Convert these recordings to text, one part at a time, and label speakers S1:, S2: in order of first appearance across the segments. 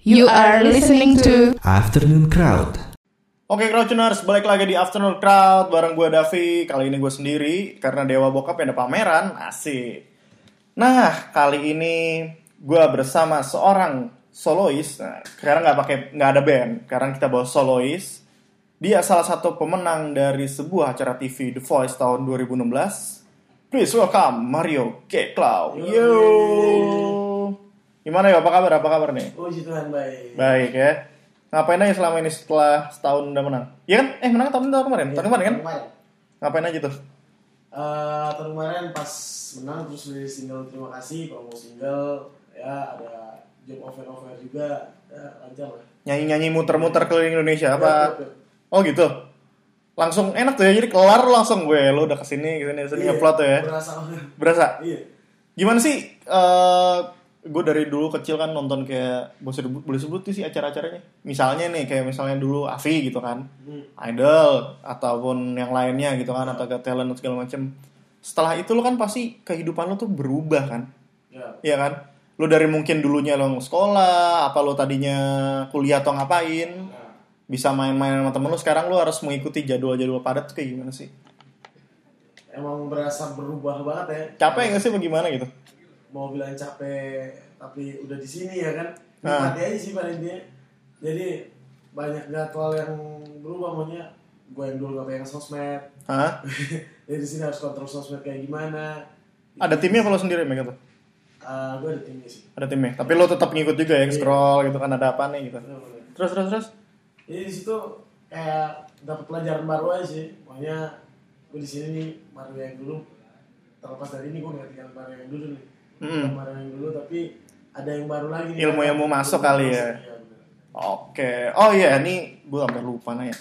S1: You are listening to
S2: Afternoon Crowd.
S3: Oke Crowdtuners, balik lagi di Afternoon Crowd bareng gue Davi. Kali ini gue sendiri karena Dewa Bokap yang ada pameran, asik. Nah, kali ini gue bersama seorang solois. Nah, sekarang nggak pakai nggak ada band, sekarang kita bawa solois. Dia salah satu pemenang dari sebuah acara TV The Voice tahun 2016. Please welcome Mario K. Cloud. Yo. Gimana ya? Apa kabar? Apa kabar nih?
S4: Oh, Puji Tuhan baik.
S3: Baik ya. Ngapain aja selama ini setelah setahun udah menang? Iya kan? Eh menang tahun tahun kemarin? Tahun kemarin kan?
S4: Kemarin.
S3: Ngapain aja tuh?
S4: Eh, tahun kemarin pas menang terus rilis single terima kasih promo single ya ada job offer offer juga ya, lancar lah.
S3: Nyanyi-nyanyi muter-muter keliling Indonesia
S4: Ya,
S3: apa?
S4: ya, ya.
S3: Oh gitu? Langsung enak tuh ya, jadi kelar langsung gue lo udah kesini kesini kesini
S4: Iya,
S3: upload tuh ya
S4: Berasa banget.
S3: Berasa?
S4: Iya.
S3: Gimana sih? eh gue dari dulu kecil kan nonton kayak boleh sebut, boleh sebut sih acara-acaranya misalnya nih kayak misalnya dulu Avi gitu kan
S4: Hmm.
S3: idol ataupun yang lainnya gitu kan atau ke talent segala macem setelah itu lo kan pasti kehidupan lo tuh berubah kan
S4: Ya.
S3: Iya kan? Lu dari mungkin dulunya lo sekolah, apa lo tadinya kuliah atau ngapain,
S4: Nah,
S3: bisa main-main sama temen lu, sekarang lu harus mengikuti jadwal-jadwal padat tuh kayak gimana sih?
S4: emang berasa berubah banget ya.
S3: Capek gak sih bagaimana gitu?
S4: Mau bilang capek tapi udah di sini ya kan.
S3: Nah.
S4: Nikmati aja sih pada intinya. Jadi banyak jadwal yang berubah maunya gue yang dulu gak pengen sosmed
S3: Hah?
S4: jadi di sini harus kontrol sosmed kayak gimana
S3: Ada timnya kalau sendiri megang tuh?
S4: Eh, gue ada timnya sih
S3: Ada timnya. Tapi lu tetap ngikut juga ya, scroll gitu kan ada apa nih gitu.
S4: Bener-bener.
S3: Terus terus terus.
S4: jadi di situ kayak dapat pelajaran baru aja sih makanya gue di sini nih Mario yang dulu terlepas dari ini gue nggak tinggal Mario yang dulu nih
S3: Mm.
S4: Mario yang dulu tapi ada yang baru lagi nih
S3: Ilmu yang mau masuk
S4: Ilmu yang
S3: kali ya.
S4: iya, bener.
S3: Oke. Oh iya, ini gue sampai lupa nanya.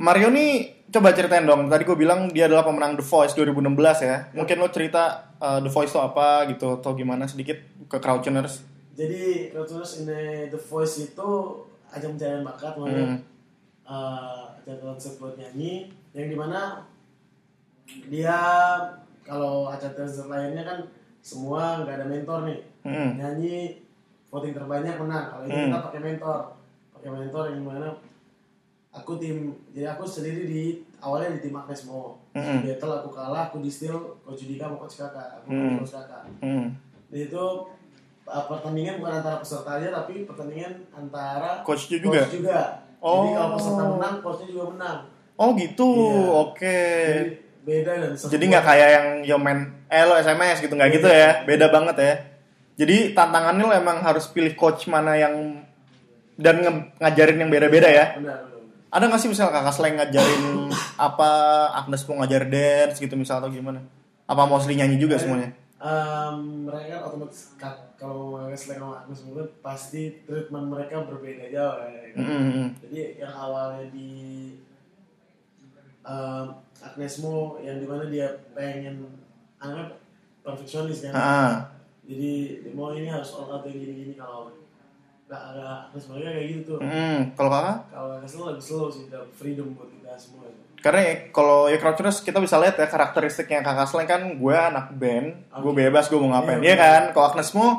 S3: Mario nih coba ceritain dong. Tadi gue bilang dia adalah pemenang The Voice 2016 ya. Mungkin lo cerita eh, The Voice itu apa gitu atau gimana sedikit ke Crowdtuners.
S4: jadi terus ini The Voice itu ajang pencarian bakat makanya
S3: Hmm.
S4: eh, ajang konsep buat nyanyi yang dimana dia kalau acara talent lainnya kan semua nggak ada mentor nih
S3: Hmm.
S4: nyanyi voting terbanyak menang kalau ini
S3: Hmm.
S4: kita pakai mentor pakai mentor yang mana aku tim jadi aku sendiri di awalnya di tim Agnes Mo
S3: Hmm.
S4: Di battle aku kalah aku di steal coach Judika sama coach kakak aku
S3: Hmm.
S4: coach kakak
S3: Hmm.
S4: di situ uh, pertandingan bukan antara peserta aja tapi pertandingan antara
S3: Coachnya juga?
S4: coach juga. jadi
S3: Oh.
S4: kalau peserta menang coachnya juga menang
S3: Oh gitu.
S4: Iya.
S3: Oke.
S4: jadi beda dan seru
S3: Eh. Jadi nggak kayak yang yo men eh lo SMS gitu nggak gitu ya. Beda banget ya. Jadi tantangannya lo emang harus pilih coach mana yang dan nge- ngajarin yang beda-beda ya.
S4: benar, benar, benar.
S3: Ada nggak sih misal kakak slang ngajarin apa Agnes mau ngajar dance gitu misal atau gimana? Apa mostly nyanyi juga semuanya?
S4: Um, mereka kan otomatis ka- kalau mereka selain sama aku sebelum pasti treatment mereka berbeda jauh ya.
S3: Mm, mm, mm.
S4: Jadi yang awalnya di um, Agnesmo yang dimana dia pengen anggap perfeksionis kan.
S3: Ah,
S4: Jadi mau ini harus all out yang gini-gini kalau nggak ada terus mereka kayak gitu tuh.
S3: mm, mm. Kalau kakak?
S4: Kalau nggak slow lebih slow sih dalam freedom buat kita semua.
S3: Karena ya, kalau ya Crouchers kita bisa lihat ya karakteristiknya kakak slang kan gue anak band, gue
S4: Oke.
S3: bebas gue mau ngapain. Iya
S4: Iya,
S3: kan? Kalau Agnes mau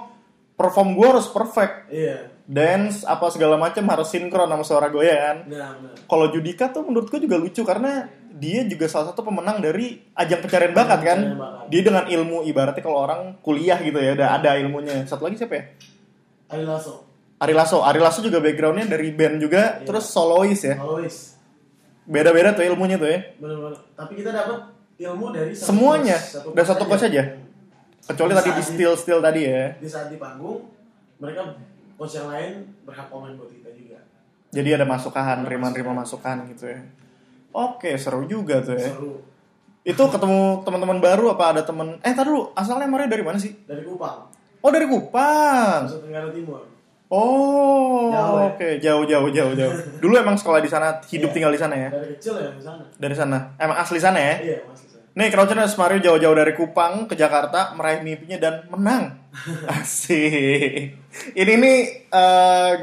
S3: perform gue harus perfect,
S4: Iya,
S3: dance apa segala macam harus sinkron sama suara gue ya kan.
S4: benar benar.
S3: Kalau Judika tuh menurut gue juga lucu karena dia juga salah satu pemenang dari ajang pencarian bakat kan.
S4: Pencarian bakat.
S3: Dia dengan ilmu ibaratnya kalau orang kuliah gitu ya udah ada ilmunya. Satu lagi siapa ya?
S4: Ari Lasso,
S3: Ari Lasso. Ari Lasso juga backgroundnya dari band juga,
S4: Iya.
S3: terus solois ya.
S4: always
S3: Beda-beda tuh ilmunya tuh ya.
S4: benar benar. Tapi kita dapat ilmu dari satu
S3: Semuanya?
S4: coach,
S3: Dari satu coach aja? Kecuali tadi di
S4: Saat-
S3: steel steel tadi ya.
S4: Di saat di panggung mereka coach yang lain berhak komen buat kita juga.
S3: Jadi ada masukan, terima-terima masukan gitu ya. Oke, seru juga tuh ya.
S4: Seru
S3: Itu ketemu teman-teman baru apa ada temen? Eh, tadi dulu asalnya Mario dari mana sih?
S4: dari Kupang,
S3: Oh, dari Kupang.
S4: Nusa Tenggara Timur.
S3: Oh,
S4: Jauh ya.
S3: oke, jauh jauh jauh jauh. Dulu emang sekolah di sana, hidup
S4: Iya.
S3: tinggal di sana ya.
S4: Dari kecil ya di sana.
S3: Dari sana. Emang asli sana ya.
S4: Iya masih sana.
S3: Nih, Crouchers Mario jauh-jauh dari Kupang ke Jakarta meraih mimpinya dan menang. Asik. Ini nih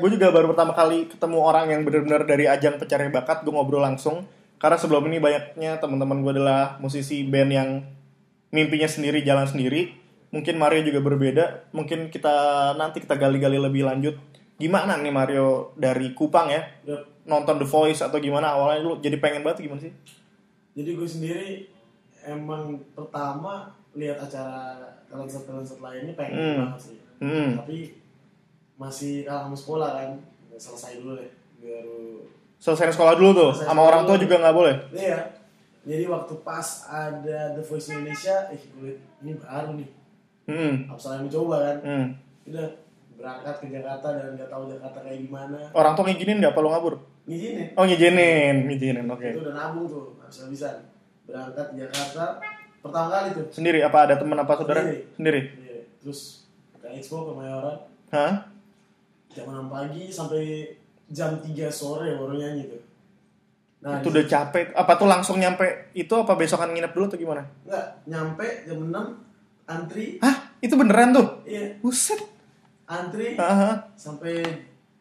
S3: gue juga baru pertama kali ketemu orang yang benar-benar dari ajang pencari bakat, gue ngobrol langsung. Karena sebelum ini banyaknya teman-teman gue adalah musisi band yang mimpinya sendiri jalan sendiri. Mungkin Mario juga berbeda. Mungkin kita nanti kita gali-gali lebih lanjut Gimana nih Mario dari Kupang ya?
S4: Udah,
S3: Nonton The Voice atau gimana awalnya lu jadi pengen banget gimana sih?
S4: jadi gue sendiri emang pertama lihat acara talent-talent lainnya pengen
S3: Hmm.
S4: banget sih
S3: Hmm.
S4: tapi masih dalam sekolah kan Udah selesai dulu deh baru
S3: Selesai sekolah dulu tuh,
S4: Selesai
S3: sama orang tua
S4: sekolah.
S3: juga nggak boleh.
S4: iya jadi waktu pas ada The Voice Indonesia eh gue liat, ini baru nih
S3: Hmm.
S4: Absalan mencoba kan
S3: Hmm.
S4: udah berangkat ke Jakarta dan nggak tahu Jakarta kayak gimana
S3: Orang tua ngizinin nggak apa lu ngabur?
S4: ngizinin
S3: Oh ngizinin, ngizinin, oke.
S4: itu udah nabung tuh habis habisan berangkat ke Jakarta pertama kali tuh
S3: Sendiri apa ada teman apa saudara?
S4: Sendiri.
S3: Sendiri.
S4: Iya. terus ke Expo ke Mayoran
S3: Hah?
S4: jam 6 pagi sampai jam 3 sore baru nyanyi tuh nah
S3: Itu
S4: di-
S3: udah capek. Apa tuh langsung nyampe itu apa besokan nginep dulu atau gimana?
S4: nggak nyampe jam 6 antri
S3: Hah? Itu beneran tuh?
S4: iya
S3: Buset.
S4: antri
S3: Aha.
S4: sampai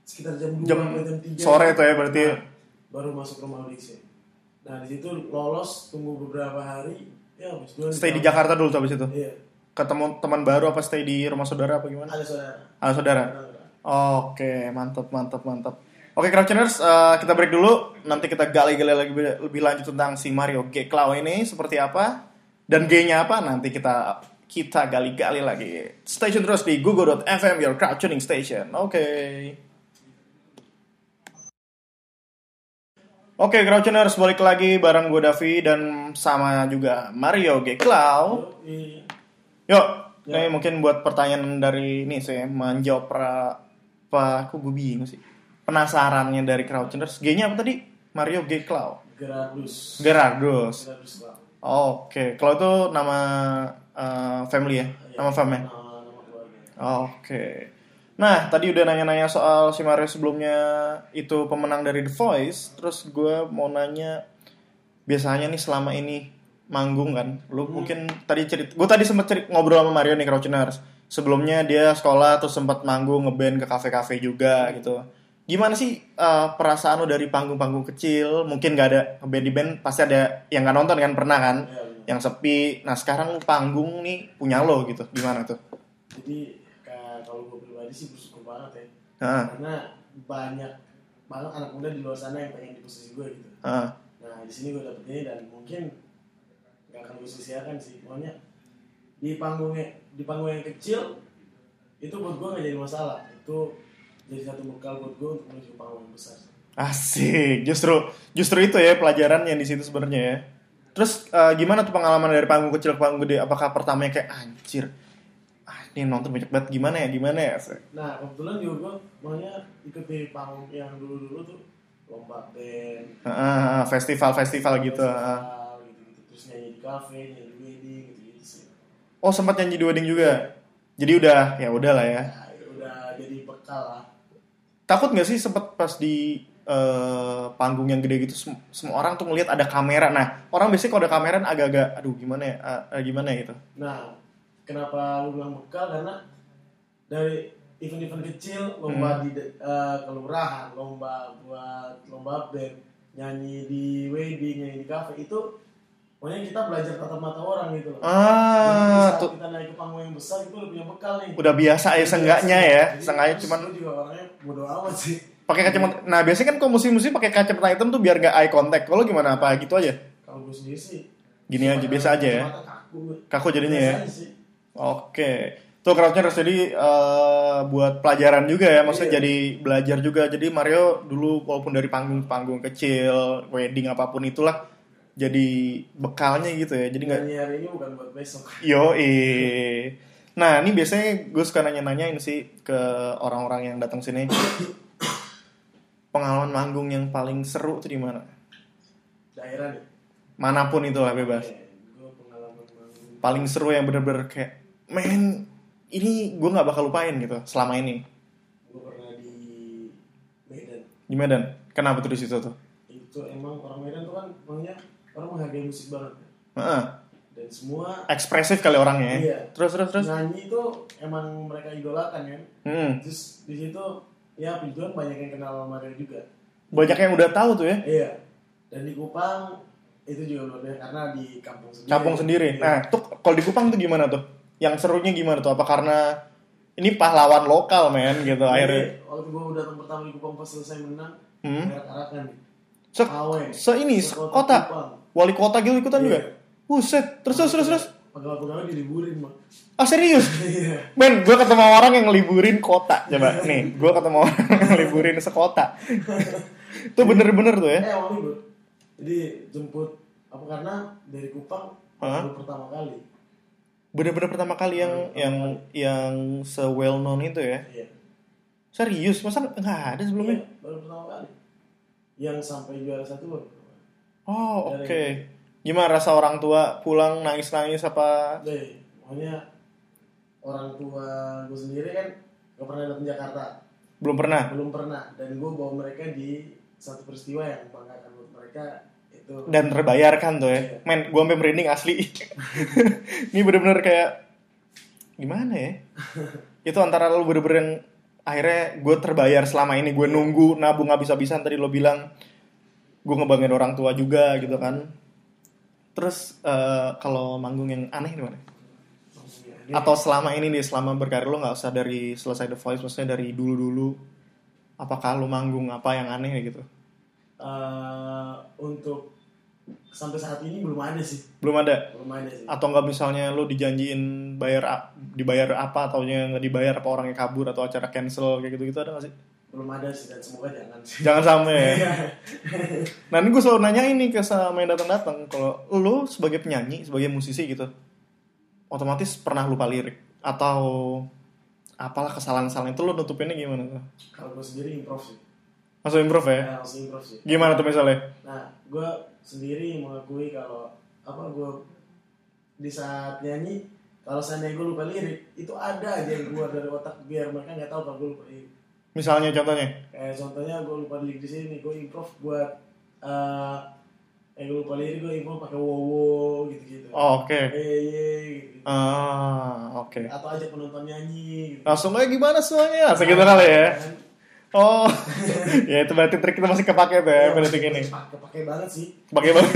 S4: sekitar jam 2
S3: Jam
S4: sampai jam 3
S3: sore tuh ya berarti.
S4: Nah, baru masuk rumah audisi nah di situ lolos tunggu beberapa hari ya habis dulu
S3: Stay di Jakarta dulu tuh abis itu.
S4: iya
S3: Ketemu teman baru apa stay di rumah saudara apa gimana?
S4: ada saudara
S3: Ah, saudara. Oke, mantap mantap mantap. Oke, Crouchers, eh, kita break dulu. Nanti kita gali-gali lagi lebih, lebih lanjut tentang si Mario G. Clau ini seperti apa dan G-nya apa nanti kita kita gali-gali lagi. Station terus di google.fm your crowd tuning station. Oke. Oke, Crouchers balik lagi bareng gue Davi dan sama juga Mario G. Clau.
S4: Yoi.
S3: Yuk, ini mungkin buat pertanyaan dari ini saya menjawab pra, apa aku gue bingung sih. Penasarannya dari Crouchers, G-nya apa tadi? Mario G Clau.
S4: Gerardus
S3: Gerardos.
S4: Gerardus Bang.
S3: Oke, Clau itu nama eh, family ya? Nama family.
S4: Nama- nama keluarga.
S3: Oke. Nah, tadi udah nanya-nanya soal si Mario sebelumnya itu pemenang dari The Voice. Terus gue mau nanya, biasanya nih selama ini manggung kan, lu mungkin tadi cerita, gue tadi sempet cerit- ngobrol sama Mario nih Crouchiners. Sebelumnya dia sekolah terus sempat manggung ngeband ke kafe-kafe juga gitu. Gimana sih eh, perasaan lu dari panggung-panggung kecil? Mungkin gak ada ngeband di band, pasti ada yang gak nonton kan pernah kan?
S4: Iya, benar.
S3: Yang sepi. Nah sekarang lu panggung nih punya lo gitu, gimana tuh?
S4: jadi ka- kalau gue pribadi sih bersyukur banget ya
S3: Heeh.
S4: karena banyak banget anak muda di luar sana yang pengen di posisi gue gitu
S3: Heeh.
S4: nah di sini gue dapet ini dan mungkin gak akan gue sia-siakan sih pokoknya di panggungnya di panggung yang kecil itu buat gue gak jadi masalah itu jadi satu bekal buat gue untuk menuju panggung yang besar
S3: Asik, justru justru itu ya pelajaran yang di situ sebenarnya ya. Terus eh, gimana tuh pengalaman dari panggung kecil ke panggung gede? Apakah pertamanya kayak anjir? Ah, ini nonton banyak banget gimana ya? Gimana ya?
S4: nah kebetulan juga gue maunya ikut di panggung yang dulu-dulu tuh lomba band
S3: Ah, festival-festival gitu. ah.
S4: gitu, gitu. terus nyanyi di kafe nyanyi di wedding gitu gitu sih
S3: Oh, sempat nyanyi di wedding juga. Jadi udah, ya udah lah ya.
S4: nah, itu udah jadi bekal lah
S3: Takut nggak sih sempat pas di eh, panggung yang gede gitu sem- semua orang tuh ngelihat ada kamera. Nah, orang biasanya kalau ada kamera agak-agak aduh gimana ya? ah, ah, gimana ya gitu.
S4: nah kenapa lu bilang bekal karena dari event-event kecil
S3: Hmm.
S4: lomba di de- eh, kelurahan lomba buat lomba band nyanyi di wedding nyanyi di kafe itu pokoknya kita belajar tatap mata orang gitu loh Jadi di
S3: Ah,
S4: saat
S3: tuh
S4: kita naik ke panggung yang besar itu lebih bekal nih
S3: udah biasa ya seenggaknya ya.
S4: Jadi,
S3: Seenggaknya
S4: terus
S3: cuman
S4: lu juga orangnya bodo amat sih
S3: pakai kacamata nah biasanya kan kalau musim-musim pakai kacamata hitam tuh biar gak eye contact kalau gimana apa gitu aja
S4: kalau gue sendiri sih
S3: gini aja
S4: pakai
S3: biasa aja ya
S4: kacamata kaku gue.
S3: kaku jadinya ya
S4: Biasa aja sih.
S3: oke tuh crowdnya harus jadi eh, buat pelajaran juga ya maksudnya
S4: Iya.
S3: jadi belajar juga jadi Mario dulu walaupun dari panggung panggung kecil wedding apapun itulah jadi bekalnya gitu ya jadi nggak
S4: Nyanyi hari ini bukan buat besok.
S3: Yo, Nah, ini biasanya gue suka nanya-nanyain sih ke orang-orang yang datang sini. Pengalaman manggung yang paling seru tuh di mana?
S4: Daerah nih.
S3: Manapun itulah bebas.
S4: Gue pengalaman manggung.
S3: Paling seru yang bener-bener kayak, men, ini gue nggak bakal lupain gitu selama ini.
S4: Gue pernah di Medan.
S3: Di Medan. Kenapa tuh di situ tuh?
S4: Itu emang orang Medan tuh kan maunya orang menghargai musik banget. ya.
S3: Heeh.
S4: Dan semua
S3: Ekspresif kali orangnya. ya.
S4: Iya.
S3: Terus terus terus.
S4: nyanyi itu emang mereka idolakan kan.
S3: Hmm.
S4: Terus di situ ya tujuan banyak yang kenal sama Mario juga.
S3: Banyak yang udah tahu tuh ya.
S4: Iya. Dan di Kupang itu juga luar biasa karena di kampung sendiri.
S3: Capung sendiri.
S4: Iya.
S3: Nah, tuh kalau di Kupang tuh gimana tuh? Yang serunya gimana tuh? Apa karena ini pahlawan lokal men gitu
S4: Iya.
S3: akhirnya
S4: Jadi, waktu gue udah datang pertama di Kupang pas selesai menang,
S3: Hmm.
S4: arak-arakan nih.
S3: se,
S4: Awe.
S3: se ini
S4: Sekota
S3: sekota
S4: Kupang.
S3: wali kota gitu ikutan
S4: Iya.
S3: juga Buset, terus terus terus terus.
S4: Pegawai-pegawai diliburin, Bang.
S3: Ah serius?
S4: Iya.
S3: Men, gue ketemu orang yang ngeliburin kota Coba, nih, gue ketemu orang yang ngeliburin sekota Itu bener-bener tuh ya
S4: Eh, awal libur. Jadi jemput apa karena dari Kupang
S3: Hah?
S4: baru pertama kali.
S3: Bener-bener pertama kali yang yang yang se well known itu ya
S4: Iya.
S3: Serius, masa nggak ada sebelumnya?
S4: Iya, baru pertama kali. Yang sampai juara satu baru. pertama kali.
S3: Oh,
S4: Dari-
S3: oke Gimana rasa orang tua pulang nangis-nangis apa?
S4: Deh, pokoknya orang tua gue sendiri kan gak pernah datang Jakarta,
S3: Belum pernah?
S4: belum pernah. Dan gue bawa mereka di satu peristiwa yang membanggakan buat mereka itu.
S3: Dan terbayarkan tuh ya Men, gue sampe merinding asli Ini bener-bener kayak Gimana ya? Itu antara lo bener-bener yang Akhirnya gue terbayar selama ini Gue nunggu, nabung habis-habisan Tadi lo bilang Gue ngebanggain orang tua juga gitu kan Terus eh, kalau manggung yang aneh di mana? Atau selama ini nih selama berkarir lo nggak usah dari selesai The Voice, maksudnya dari dulu-dulu apakah lo manggung apa yang aneh gitu?
S4: Eh, untuk sampai saat ini belum ada sih,
S3: Belum ada
S4: belum ada sih.
S3: atau nggak misalnya lo dijanjiin bayar a- dibayar apa ataunya nggak dibayar apa orangnya kabur atau acara cancel kayak gitu gitu ada nggak sih?
S4: belum ada sih dan semoga jangan sih.
S3: Jangan sampai. ya. Nah ini gue selalu nanya ini ke sama yang datang-datang kalau lo sebagai penyanyi sebagai musisi gitu otomatis pernah lupa lirik atau apalah kesalahan-kesalahan itu lo nutupinnya gimana?
S4: Kalau gue sendiri improv sih,
S3: Langsung improve ya?
S4: ya, langsung improv sih.
S3: Gimana tuh misalnya?
S4: Nah, gue sendiri mengakui kalau apa gue di saat nyanyi kalau seandainya gue lupa lirik itu ada aja yang keluar dari otak biar mereka nggak tahu kalau gue lupa lirik.
S3: Misalnya contohnya?
S4: Kayak contohnya gue lupa lirik di sini, gue improv buat eh eh gue lupa lirik gue improv pakai wowo gitu-gitu.
S3: Oh, oke.
S4: Eh ye gitu.
S3: Ah, oke.
S4: Atau aja penonton nyanyi gitu.
S3: Langsung aja gimana semuanya? Langsung gitu kali ya.
S4: Kan?
S3: Oh. ya itu berarti trik kita masih kepake tuh ya pada detik ini.
S4: Pak- Kepake banget sih.
S3: Bagaimana?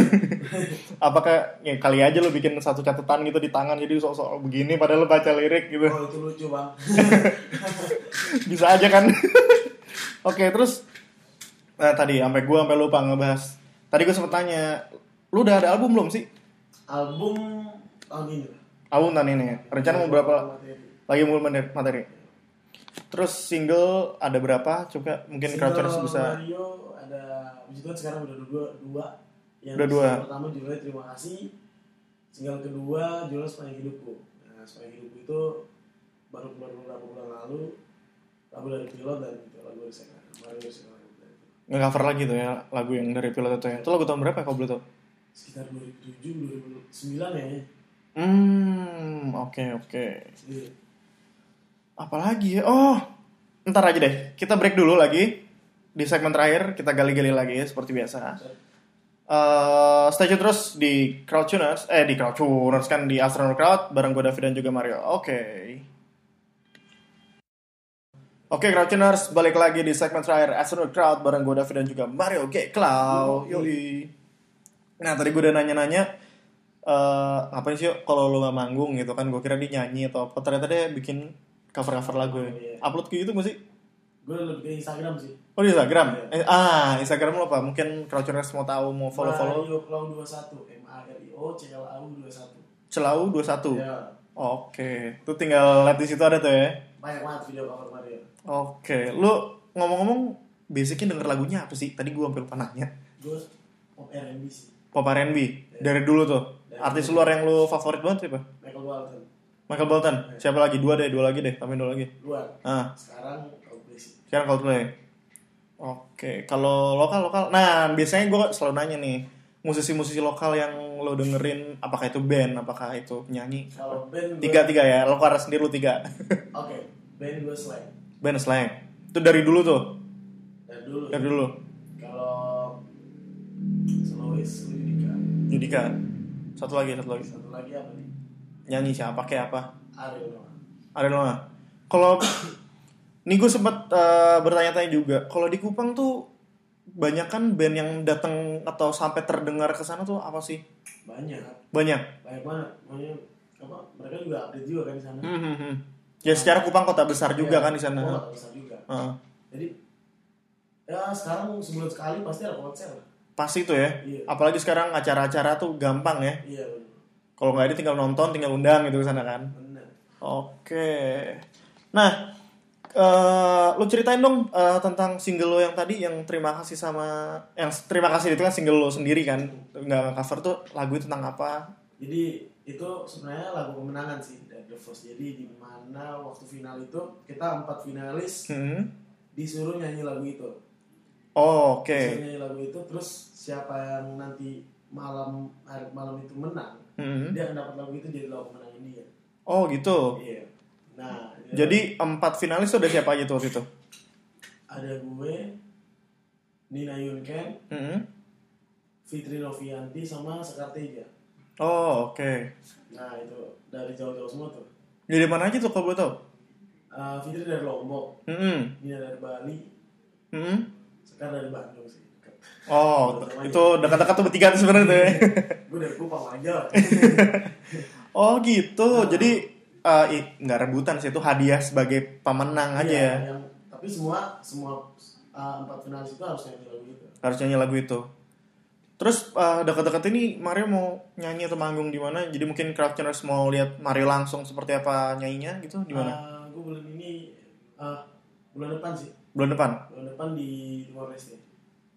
S3: Apakah ya kali aja lo bikin satu catatan gitu di tangan jadi sok-sok begini padahal lo baca lirik gitu.
S4: Oh itu lucu bang.
S3: Bisa aja kan? oke, terus nah, tadi sampai gua sampai lupa ngebahas. Tadi gue sempet tanya, lu udah ada album belum sih?
S4: Album tahun ini. lah.
S3: Album tahun ini ya. Rencana mau berapa? lagi mau menit materi terus single ada berapa coba mungkin
S4: Single
S3: crouchers bisa
S4: Mario ada puji Tuhan sekarang udah dua dua yang
S3: Udah dua.
S4: single pertama judulnya terima kasih single kedua judulnya sepanjang hidupku nah sepanjang hidupku itu baru keluar beberapa bulan lalu lagu dari pilot dan lagu dari sekarang Mario dari sekarang
S3: nge-cover lagi tuh ya lagu yang dari pilot itu ya itu lagu tahun berapa ya, kalau boleh tahu
S4: sekitar 2007 2009 ya
S3: hmm oke oke
S4: Jadi,
S3: apalagi ya oh ntar aja deh kita break dulu lagi di segmen terakhir kita gali-gali lagi ya, seperti biasa Eh, stay tune terus di Crowdtuners eh di Crowdtuners kan di Astronaut Crowd bareng gue David dan juga Mario oke Oke, Crowdtuners, balik lagi di segmen terakhir Astronaut Crowd bareng gue David dan juga Mario G. Cloud. Yoi. Nah, tadi gue udah nanya-nanya eh ngapain sih yuk kalau lo gak manggung gitu kan gue kira dia nyanyi atau apa ternyata dia bikin cover-cover lagu ya. Upload ke YouTube gak sih?
S4: gue lebih ke Instagram sih
S3: Oh di Instagram? Eh, ah, Instagram lo apa? Mungkin Crowdtuners mau tahu mau follow-follow
S4: Mario Cloud 21 M A R I O C L A U 21
S3: Celau 21.
S4: ya
S3: Oke, tuh tinggal lihat di situ ada tuh ya.
S4: banyak banget video cover Mario
S3: Oke, lu ngomong-ngomong basicnya denger lagunya apa sih? Tadi gua hampir lupa nanya.
S4: gue pop R&B sih
S3: Pop R&B Iya. dari dulu tuh. Artis luar yang lu favorit banget siapa?
S4: Michael Walton
S3: Michael Bolton. Siapa lagi? Dua deh, dua lagi deh, tambahin dua lagi.
S4: luar
S3: Ah,
S4: sekarang Coldplay sih
S3: sekarang Coldplay. Oke, kalau lokal lokal. Nah, biasanya gua selalu nanya nih, musisi-musisi lokal yang lo dengerin apakah itu band, apakah itu penyanyi?
S4: kalau band gue
S3: Tiga tiga ya, lo karena sendiri lu tiga.
S4: oke band gue slang
S3: band slang. Itu dari dulu tuh,
S4: dari dulu
S3: dari dulu.
S4: kalau Slowis Lyrica
S3: Judika. Satu lagi, satu lagi.
S4: satu lagi apa nih
S3: Nyanyi siapa kayak apa?
S4: Ariel Noah
S3: Ada Noah. Kalau nih gue sempat eh, bertanya-tanya juga, kalau di Kupang tuh banyak kan band yang datang atau sampai terdengar ke sana tuh apa sih?
S4: banyak
S3: Banyak.
S4: banyak banget Pokoknya, apa mereka juga update juga kan di sana
S3: Hmm, hmm, hmm. Ya secara Kupang kota besar juga
S4: Ya,
S3: kan di sana.
S4: oh, nggak besar juga
S3: Heeh.
S4: jadi ya sekarang sebulan sekali pasti ada konser lah
S3: Pasti tuh ya.
S4: Iya.
S3: Apalagi sekarang acara-acara tuh gampang ya.
S4: iya
S3: Kalau nggak ada tinggal nonton, tinggal undang gitu ke sana kan.
S4: benar
S3: Oke. Nah, eh lu ceritain dong eh, tentang single lo yang tadi yang terima kasih sama yang terima kasih itu kan single lo sendiri kan nggak cover tuh lagu itu tentang apa?
S4: Jadi itu sebenarnya lagu kemenangan sih dari The First. Jadi di mana waktu final itu kita empat finalis
S3: Hmm.
S4: disuruh nyanyi lagu itu.
S3: Oh, Oke.
S4: Disuruh nyanyi lagu itu terus siapa yang nanti malam hari malam itu menang,
S3: Hmm.
S4: dia akan dapat lagu itu jadi lagu kemenangan dia.
S3: Oh gitu.
S4: Iya. Nah,
S3: Jadi empat finalis tuh ada siapa aja tuh waktu itu?
S4: ada gue Nina Yunken,
S3: Hmm.
S4: Fitri Novianti sama Sekarteja.
S3: Oh oke.
S4: Nah, itu dari jauh-jauh semua tuh.
S3: Jadi Ya, mana aja tuh kalau boleh tahu?
S4: Eh, Fitri dari Lombok,
S3: Hmm.
S4: Nina dari Bali,
S3: Hmm.
S4: Sekar dari Bandung sih. Dekat.
S3: Oh, itu dekat-dekat tuh bertiga tuh sebenarnya tuh ya.
S4: gue dari Kupang aja
S3: Oh gitu. Jadi eh, i- nggak rebutan sih itu hadiah sebagai pemenang aja
S4: Iya,
S3: ya.
S4: yang, tapi semua semua uh, empat finalis itu harus nyanyi lagu itu
S3: Harus nyanyi lagu itu. Terus eh, dekat-dekat ini Mario mau nyanyi atau manggung di mana? Jadi mungkin crowdtuners mau lihat Mario langsung seperti apa nyanyinya gitu di mana?
S4: Uh, gue bulan ini uh, bulan depan sih
S3: Bulan depan.
S4: bulan depan di Timor Leste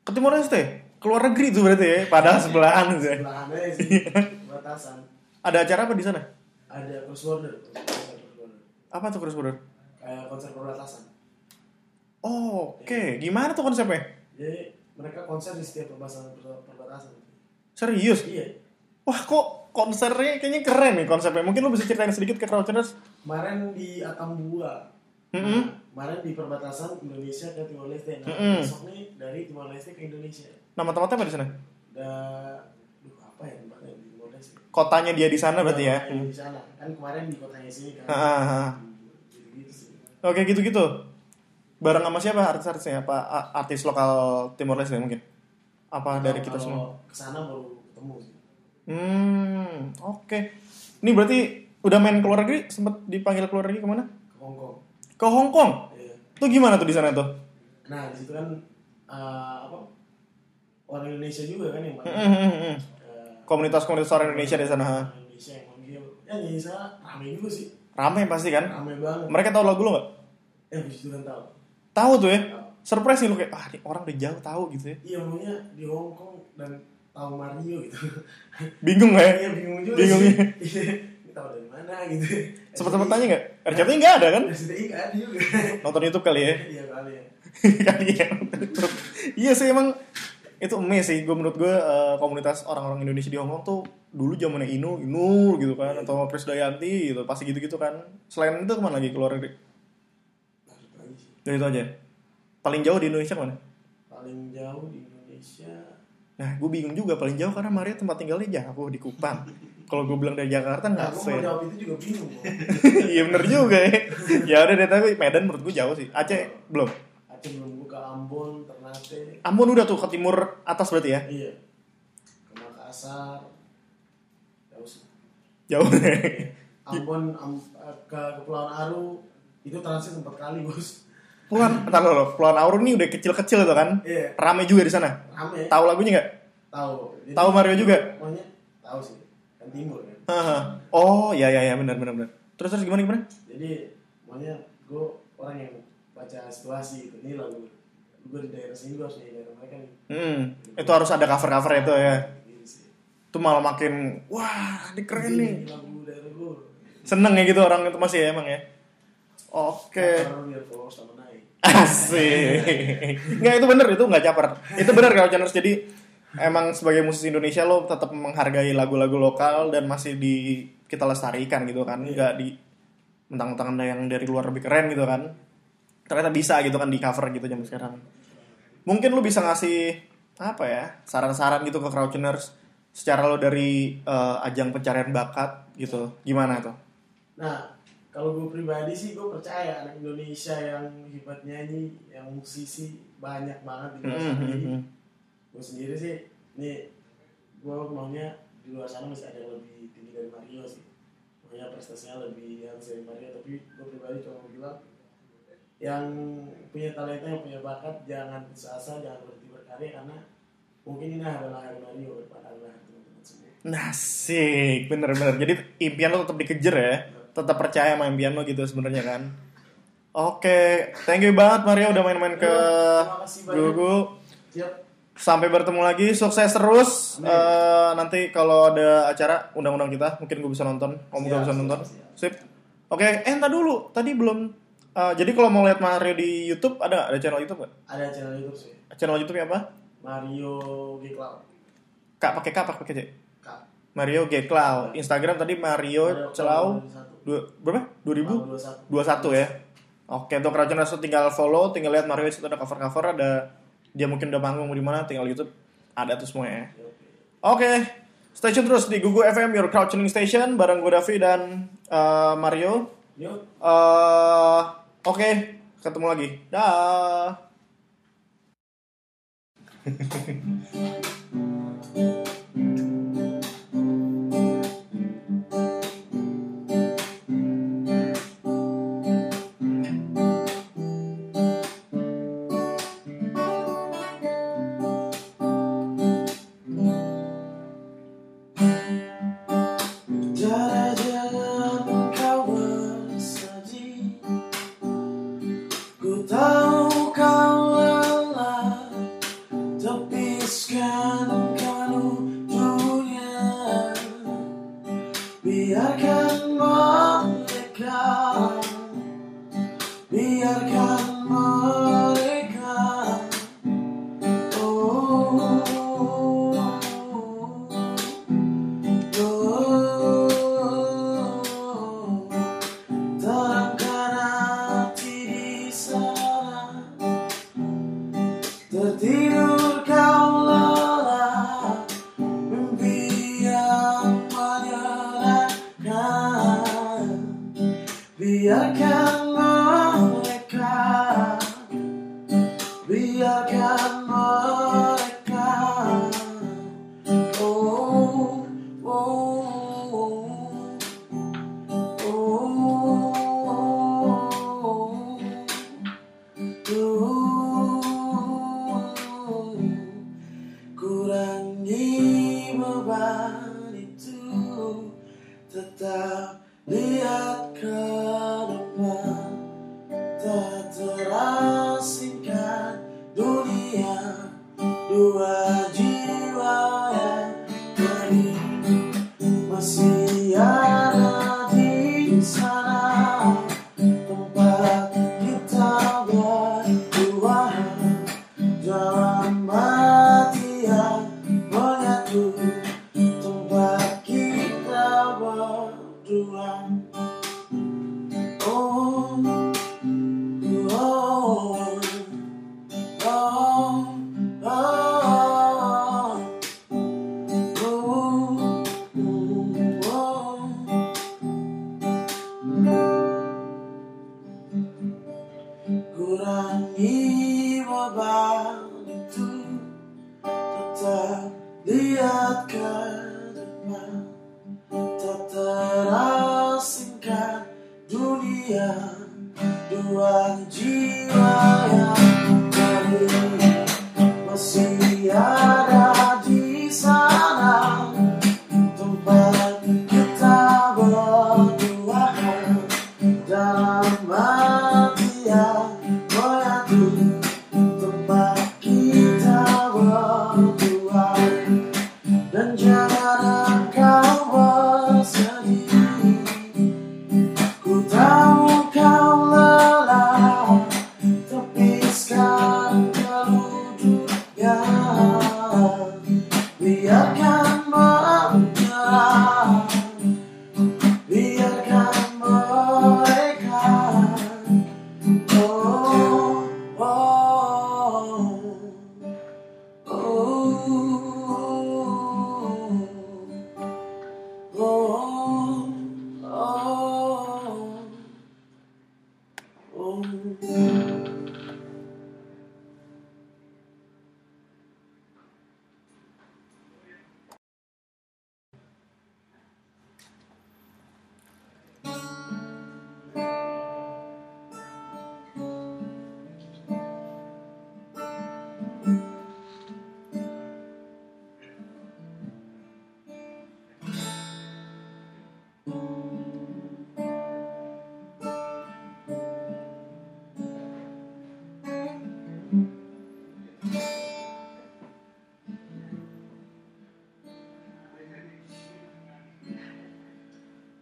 S3: Ke Timor Leste. Keluar negeri itu berarti ya. Padahal sebelahan sih.
S4: belahan aja
S3: Iya.
S4: sih batasan
S3: Ada acara apa di sana?
S4: ada cross border konser cross border
S3: Apa tuh cross border?
S4: kayak konser perbatasan
S3: Oh, oke. Gimana tuh konsepnya?
S4: jadi mereka konser di setiap perbatasan perbatasan
S3: Serius?
S4: iya
S3: Wah kok konsernya kayaknya keren nih konsepnya. Mungkin lo bisa ceritain sedikit ke crowdtuners.
S4: kemarin di Atambua
S3: Mm-mm.
S4: Nah, kemarin di perbatasan Indonesia ke Timor Leste nah
S3: Mm-mm.
S4: besok nih dari Timor Leste ke Indonesia
S3: Nama tempatnya apa di sana?
S4: da duh apa ya tempatnya di Timor Leste
S3: Kotanya dia di sana berarti ya.
S4: Yang di sana kan kemarin di kotanya sini kan
S3: Ah, ah, ah.
S4: gitu sih
S3: Oke gitu-gitu. Bareng sama siapa artis-artisnya? Apa a- artis lokal Timor Leste mungkin? Apa dari kita semua?
S4: Kalau kesana baru ketemu sih
S3: Hmm, oke. Ini berarti udah main keluar negeri, sempet dipanggil keluar negeri kemana?
S4: ke Hong Kong
S3: Ke Hong Kong.
S4: Iya.
S3: Tuh gimana tuh di sana tuh?
S4: nah di situ kan eh, apa orang Indonesia juga kan yang main
S3: Hmm, hmm, hmm.
S4: Eh,
S3: Komunitas-komunitas orang Indonesia di sana. ha.
S4: orang Indonesia yang manggil ya di sana rame juga sih
S3: Rame pasti kan?
S4: rame banget
S3: Mereka tahu lagu lo nggak?
S4: eh puji Tuhan tahu
S3: Tahu tuh ya? Surprise sih lo kayak, ah ini orang udah jauh tahu gitu ya.
S4: iya maunya di Hong Kong dan tahu Mario gitu
S3: Bingung nggak ya?
S4: Iya bingung juga
S3: Bingung
S4: sih.
S3: ya.
S4: Iya, Ini tahu dari mana gitu.
S3: Sempat-sempat tanya nggak? RCTI nggak ada kan?
S4: RCTI nggak ada juga.
S3: Nonton YouTube kali ya?
S4: Iya kali ya.
S3: Kali ya. iya sih emang itu emes sih. Gue menurut gue eh, komunitas orang-orang Indonesia di Hong Kong tuh dulu zamannya Inu, Inu gitu kan atau Pres Dayanti gitu pasti gitu-gitu kan. Selain itu kemana lagi keluar negeri?
S4: Nah, itu aja sih.
S3: Dari itu aja. Paling jauh di Indonesia mana?
S4: Paling jauh di Indonesia.
S3: Nah, gue bingung juga paling jauh karena Maria tempat tinggalnya jauh di Kupang. Kalau gue bilang dari Jakarta
S4: Nah,
S3: nggak
S4: aku mau
S3: fair.
S4: jawab itu juga bingung. kok.
S3: Iya bener juga ya. ya udah deh tapi Medan menurut gue jauh sih. Aceh belum.
S4: Aceh belum buka Ambon, Ternate.
S3: Ambon udah tuh ke timur atas berarti ya.
S4: Iya. Ke Makassar. Jauh sih.
S3: Jauh.
S4: Ambon Am- eh, ke Kepulauan Aru itu transit empat kali bos.
S3: Pulauan, entar dulu, Pulauan Auru ini udah kecil-kecil tuh kan.
S4: Iya.
S3: Rame juga di sana.
S4: Rame.
S3: Tahu lagunya nggak?
S4: Tahu. Jadi,
S3: Tahu Mario juga?
S4: Maunya tahu sih. Kan timur kan.
S3: Haha. Oh, ya ya ya benar benar benar. Terus terus gimana gimana?
S4: jadi maunya gue orang yang baca situasi gitu ini lagu gue di daerah sini gue harus di daerah mereka nih
S3: Hmm, itu harus ada cover-cover itu ya.
S4: gitu sih
S3: Itu malah makin wah, ini keren nih.
S4: ini lagu daerah gue
S3: Seneng ya gitu orang itu masih ya, emang ya. Oke.
S4: karena biar followers sama naik
S3: Asik. Nggak itu bener itu nggak caper. Itu bener kalau channels jadi emang sebagai musisi Indonesia lo tetap menghargai lagu-lagu lokal dan masih di kita lestarikan gitu kan. Nggak di mentang-mentang ada yang dari luar lebih keren gitu kan. Ternyata bisa gitu kan di cover gitu zaman sekarang. Mungkin lo bisa ngasih apa ya saran-saran gitu ke crowdtuners secara lo dari eh, ajang pencarian bakat gitu. Gimana tuh?
S4: nah kalau gue pribadi sih gue percaya anak Indonesia yang hebat nyanyi yang musisi banyak banget di luar
S3: Mhm,
S4: sana Jadi,
S3: mhm.
S4: gue sendiri sih nih gue maunya di luar sana masih ada yang lebih tinggi dari Mario sih Makanya punya prestasinya lebih yang sering Mario tapi gue pribadi cuma mau bilang yang punya talenta yang punya bakat jangan putus asa jangan berhenti berkarya karena mungkin ini adalah hari Mario kepada Allah teman-teman semua
S3: Nah, Nasik, bener-bener. Jadi impian lo tetap dikejar ya, tetap percaya sama impian lo gitu sebenarnya kan. Oke, thank you banget Mario udah main-main ke
S4: Terima kasih Iya, banyak.
S3: Google.
S4: siap
S3: Sampai bertemu lagi, sukses terus.
S4: Amin.
S3: Eh, nanti kalau ada acara undang-undang kita, mungkin gue bisa nonton. Om gue
S4: Siap,
S3: bisa
S4: siap,
S3: nonton.
S4: siap.
S3: Sip. Oke, eh entar dulu. Tadi belum. eh, jadi kalau mau lihat Mario di YouTube ada ada channel YouTube nggak?
S4: ada channel YouTube sih
S3: Channel YouTube apa?
S4: Mario G Cloud
S3: Kak pakai K apa pakai C?
S4: Kak
S3: Mario G Cloud. Instagram tadi Mario Celau dua berapa? 2000 21 ya. Oke, untuk Racun Resto tinggal follow, tinggal lihat Mario itu ada cover-cover, ada dia mungkin udah manggung di mana, tinggal YouTube ada tuh semuanya. ya. Oke, stay tune terus di Google FM Your Crowd Tuning Station bareng gue Davi dan eh, Mario.
S4: Yuk.
S3: Eh, Oke, ketemu lagi. Dah.
S4: Jarak-jarak kawan saji Ku tahu kau lelah Tepiskan kalu dunia Biarkan mereka Biarkan mereka Oh Oh, terangkan hati di sana, tertidur kau lelah, mimpi yang menyenangkan, biarkan mereka, biarkan mereka. Oh, oh, oh, oh, oh, oh. Kurangi beban itu, tetap lihat ke depan, tak terasingkan dunia dua jiwa yang beribu masih ada di sana tempat kita berdua dalam mati yang menyatu tempat kita berdua oh oh oh oh Oh, oh, oh. Kurangi beban itu Tetap lihat ke depan Tak terasingkan dunia Dua jiwa yang berbeda masih ada di sana tempat kita berdua dalam hati yang menyatu tempat kita berdua dan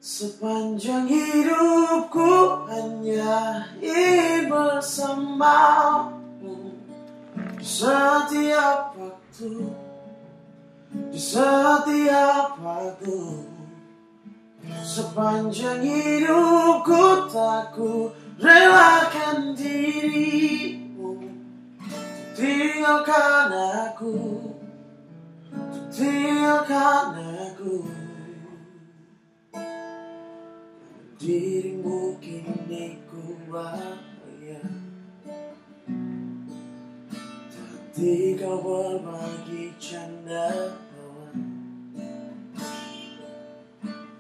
S5: Sepanjang hidupku hanya ingin bersamamu Di setiap waktu Di setiap lagu Sepanjang hidupku tak ku relakan dirimu Tinggalkan aku Tinggalkan aku dirimu kini ku bayang Hati kau berbagi canda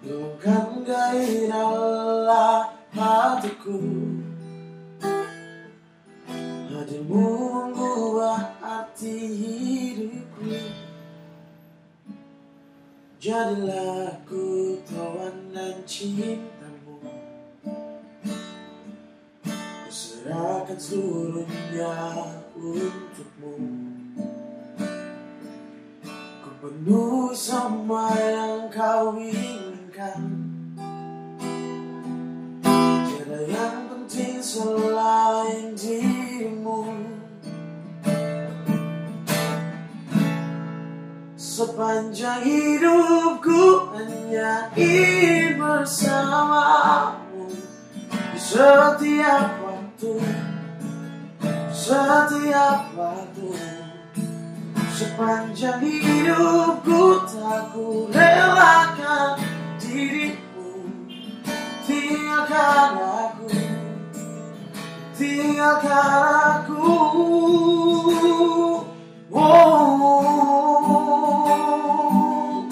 S5: Bukan gairahlah hatiku Hadirmu mengubah arti hidupku Jadilah ku tawanan cintamu Ku serahkan seluruhnya untukmu Ku penuh sama yang kau inginkan Tiada yang penting selain dirimu Sepanjang hidupku hanya ingin bersamamu Di setiap waktu Di setiap waktu Sepanjang hidupku tak ku relakan dirimu Tinggalkan aku Tinggalkan aku Oh. Oh.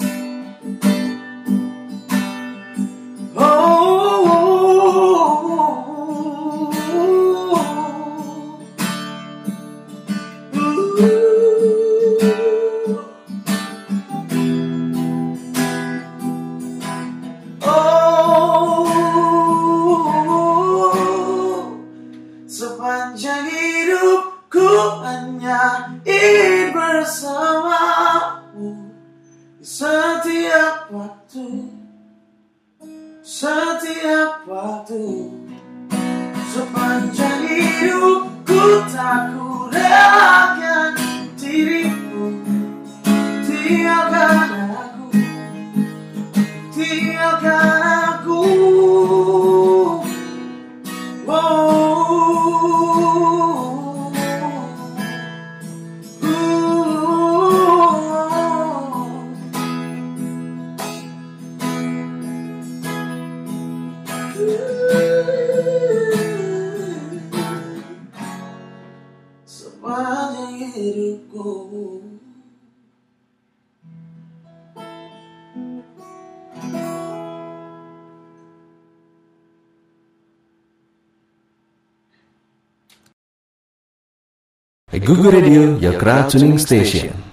S5: Oh. Sepanjang hidupku hanya ingin bersamamu Di setiap waktu Setiap waktu Sepanjang hidupku tak ku relakan dirimu Tinggalkan aku Tinggalkan aku Wow. Ooh. Sepanjang hidupku
S2: Google Radio, your crowd tuning station.